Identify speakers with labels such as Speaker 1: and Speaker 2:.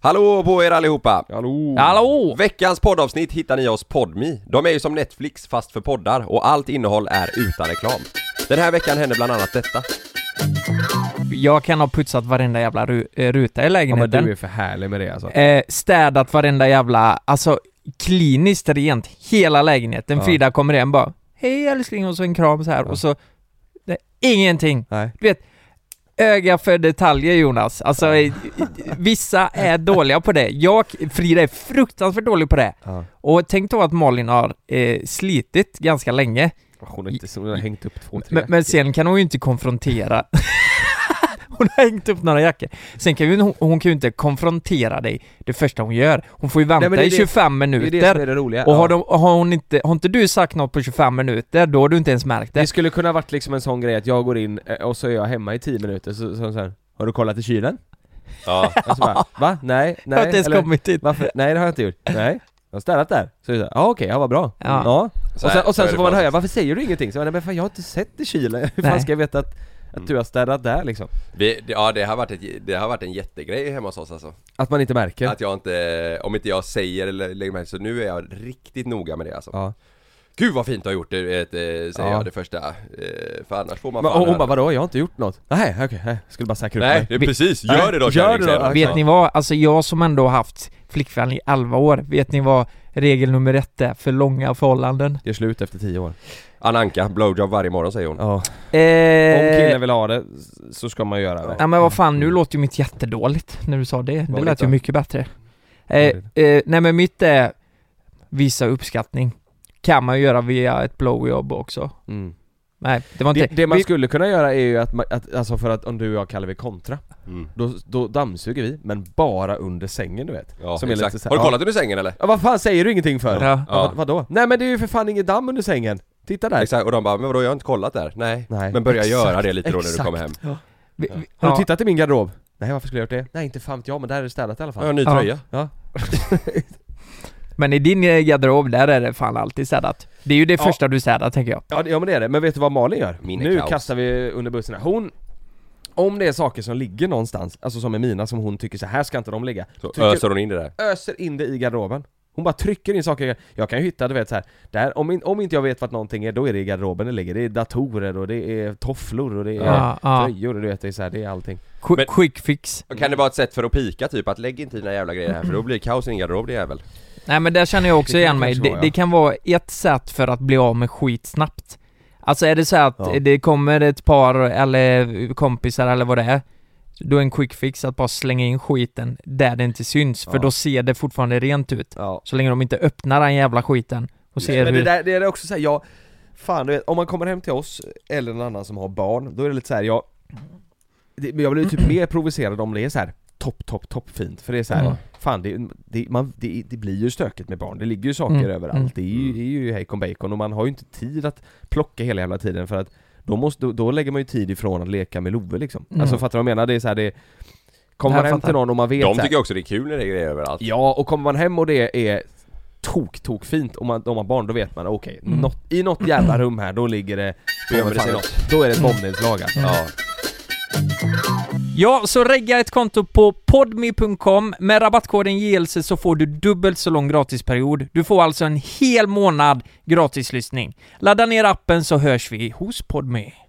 Speaker 1: Hallå på er allihopa!
Speaker 2: Hallå!
Speaker 3: Hallå!
Speaker 1: Veckans poddavsnitt hittar ni hos Podmi. De är ju som Netflix fast för poddar och allt innehåll är utan reklam. Den här veckan händer bland annat detta.
Speaker 3: Jag kan ha putsat varenda jävla ru- eh, ruta i
Speaker 2: Ja, men
Speaker 3: lägenheten.
Speaker 2: du är för härlig med det alltså.
Speaker 3: eh, städat varenda jävla, alltså kliniskt rent hela lägenheten.
Speaker 2: Ja.
Speaker 3: Frida kommer hem bara Hej älskling och så en kram så här
Speaker 2: Ja.
Speaker 3: och så det, Ingenting!
Speaker 2: Nej.
Speaker 3: Öga för detaljer Jonas. Alltså eh, vissa är dåliga på det. Jag, Frida är fruktansvärt dålig på det.
Speaker 2: Ja.
Speaker 3: Och tänk då att Malin har eh, slitit ganska länge.
Speaker 2: Hon har inte så, hon har hängt upp två, tre.
Speaker 3: Men, men sen kan hon ju inte konfrontera Hon har hängt upp några jackor Sen kan ju hon, hon kan ju inte konfrontera dig det första hon gör Hon får ju vänta
Speaker 2: Nej, men det är
Speaker 3: i
Speaker 2: det-
Speaker 3: 25
Speaker 2: det är det som
Speaker 3: minuter
Speaker 2: är det roliga.
Speaker 3: Och har,
Speaker 2: Ja.
Speaker 3: de, har hon inte, har inte du sagt något på 25 minuter, då har du inte ens märkt
Speaker 2: Det
Speaker 3: det
Speaker 2: skulle kunna varit liksom en sån grej att jag går in eh, och så är jag hemma i 10 minuter, så, så, så här, Har du kollat i kylen?
Speaker 1: Ja.
Speaker 2: Och så bara, va? Nej,
Speaker 3: Jag har
Speaker 2: nej,
Speaker 3: inte ens kommit dit
Speaker 2: varför? Nej det har jag inte gjort. Nej. Jag har städat där. Så är det såhär, ja okej, ja vad bra.
Speaker 3: Ja.
Speaker 2: Och sen, och sen så får man höra, varför säger du ingenting? Så jag bara, nej men fan jag har inte sett i kylen, hur fan
Speaker 3: Nej.
Speaker 2: ska jag veta att, att du har städat där liksom?
Speaker 1: Vi, det, ja, det har, varit ett, det har varit en jättegrej hemma hos oss alltså.
Speaker 2: Att man inte märker?
Speaker 1: Att jag inte, om inte jag säger eller lägger märke så nu är jag riktigt noga med det alltså.
Speaker 2: Ja.
Speaker 1: Gud vad fint du har gjort det, vet, eh, säger
Speaker 2: Ja.
Speaker 1: jag det första. Eh, för annars får man
Speaker 2: Men,
Speaker 1: fan
Speaker 2: och hon
Speaker 1: höra.
Speaker 2: bara, vadå jag har inte gjort något? Nej okej, nej. skulle bara säkra upp
Speaker 1: Nej,
Speaker 2: mig.
Speaker 1: det är precis,
Speaker 2: Nej,
Speaker 1: gör det då
Speaker 2: gör
Speaker 1: kärring,
Speaker 2: det
Speaker 1: säger
Speaker 2: då.
Speaker 1: jag.
Speaker 3: Vet
Speaker 2: Ja.
Speaker 3: ni vad, alltså jag som ändå har haft flickvän i 11 år, vet ni vad regel nummer ett är för långa förhållanden?
Speaker 2: Det är slut efter 10 år.
Speaker 1: Ananka, blowjob varje morgon säger hon.
Speaker 2: Ja. Om killen
Speaker 3: Eh,
Speaker 2: vill ha det, så ska man göra det.
Speaker 3: ja men vad fan, nu låter ju mitt jättedåligt när du sa det, det
Speaker 1: Vad
Speaker 3: lät ju
Speaker 1: lite.
Speaker 3: mycket bättre Eh,
Speaker 2: Vad
Speaker 3: eh, nej men mitt är visa uppskattning. Kan man ju göra via ett blowjob också.
Speaker 2: Mm.
Speaker 3: Nej, det var inte...
Speaker 2: Det, det man
Speaker 3: vi,
Speaker 2: skulle kunna göra är ju att, man, att alltså för att om du och jag kallar vi kontra,
Speaker 1: Mm.
Speaker 2: då, då dammsuger vi, men bara under sängen du vet.
Speaker 1: Ja,
Speaker 2: Som är lite
Speaker 1: exakt.
Speaker 2: så här-
Speaker 1: Har du
Speaker 2: ja.
Speaker 1: kollat under sängen eller?
Speaker 2: Ja, vad fan säger du ingenting för?
Speaker 3: ja.
Speaker 2: Ja, vad, vadå? Nej men det är ju för fan ingen damm under sängen! Titta där!
Speaker 1: Exakt, och de bara 'Men vadå, jag har inte kollat där' Nej,
Speaker 2: Nej.
Speaker 1: men börja
Speaker 2: Exakt,
Speaker 1: göra det lite då när du
Speaker 2: exakt.
Speaker 1: kommer hem
Speaker 3: Vi, vi,
Speaker 2: Har
Speaker 3: ja.
Speaker 2: du tittat i min garderob? Nej varför skulle jag gjort det? Nej inte fan vet jag men där är det städat i alla
Speaker 1: Jag
Speaker 2: fall.
Speaker 1: har en ny
Speaker 3: Ja.
Speaker 1: tröja
Speaker 3: Men i din eh, garderob, där är det fan alltid städat. Det är ju det
Speaker 2: Ja.
Speaker 3: första du städar, tänker jag.
Speaker 2: Ja, det- ja men det är det, men vet du vad Malin gör?
Speaker 1: Min är
Speaker 2: nu
Speaker 1: kaos.
Speaker 2: kastar vi under bussen här. Hon, om det är saker som ligger någonstans, alltså som är mina som hon tycker så här ska inte de ligga.
Speaker 1: Så
Speaker 2: Tycker-
Speaker 1: öser hon in det där
Speaker 2: öser in det i garderoben. Hon bara trycker in saker, jag kan ju hitta du vet så här. Där, om, in, om inte jag vet vart någonting är, då är det i garderoben det ligger. Det är datorer och det är tofflor och det är
Speaker 3: Ja, ja.
Speaker 2: tröjor och du vet, det är så här, det är allting.
Speaker 3: Qu-
Speaker 1: Men-
Speaker 3: Quick fix.
Speaker 1: Och Kan det vara ett sätt för att pika typ, att lägg inte dina jävla grejer här för då blir det kaos i din garderob det jävel
Speaker 3: Nej men där känner jag också
Speaker 2: Det kan
Speaker 3: igen mig.
Speaker 2: kanske
Speaker 3: Det,
Speaker 2: vara, ja.
Speaker 3: det kan vara ett sätt för att bli av med skit snabbt. Alltså är det så här att
Speaker 2: Ja.
Speaker 3: det kommer ett par eller kompisar eller vad det är, då är en quick fix att bara slänga in skiten där det inte syns, för
Speaker 2: Ja.
Speaker 3: då ser det fortfarande rent ut.
Speaker 2: Ja.
Speaker 3: Så länge de inte öppnar den jävla skiten och ser
Speaker 2: Men
Speaker 3: hur...
Speaker 2: det, där, det är också så här, jag, fan du vet, om man kommer hem till oss eller någon annan som har barn, då är det lite så här, jag, det, men jag blir typ mer provocerad om det är så här topp, topp, topp fint. För det är så här,
Speaker 3: Mm.
Speaker 2: fan det, det, man, det, det blir ju stökigt med barn, det ligger ju saker
Speaker 3: Mm,
Speaker 2: överallt.
Speaker 3: mm.
Speaker 2: Det, är ju, det är ju hejkon bacon och man har ju inte tid att plocka hela jävla tiden för att då, måste, då, då lägger man ju tid ifrån att leka med Love liksom.
Speaker 3: Mm.
Speaker 2: Alltså fattar du vad jag menar? Det är så här, det, kommer
Speaker 3: Jag
Speaker 2: man hem
Speaker 3: fattar.
Speaker 2: till någon och man vet så
Speaker 1: De
Speaker 2: här,
Speaker 1: tycker också det är kul när det är grejer överallt
Speaker 2: Ja, och kommer man hem och det är tok, tok fint om man, om man har barn, då vet man okej,
Speaker 3: Mm.
Speaker 2: något, i något jävla rum här, då ligger det... Då,
Speaker 1: gömmer det
Speaker 2: fan
Speaker 1: sig
Speaker 2: ett-
Speaker 1: något.
Speaker 2: då är det ett bombnedslag alltså.
Speaker 1: Ja,
Speaker 3: Mm. Ja, så regga ett konto på podme.com. Med rabattkoden JLC så får du dubbelt så lång gratisperiod. Du får alltså en hel månad gratislyssning. Ladda ner appen så hörs vi hos Podme.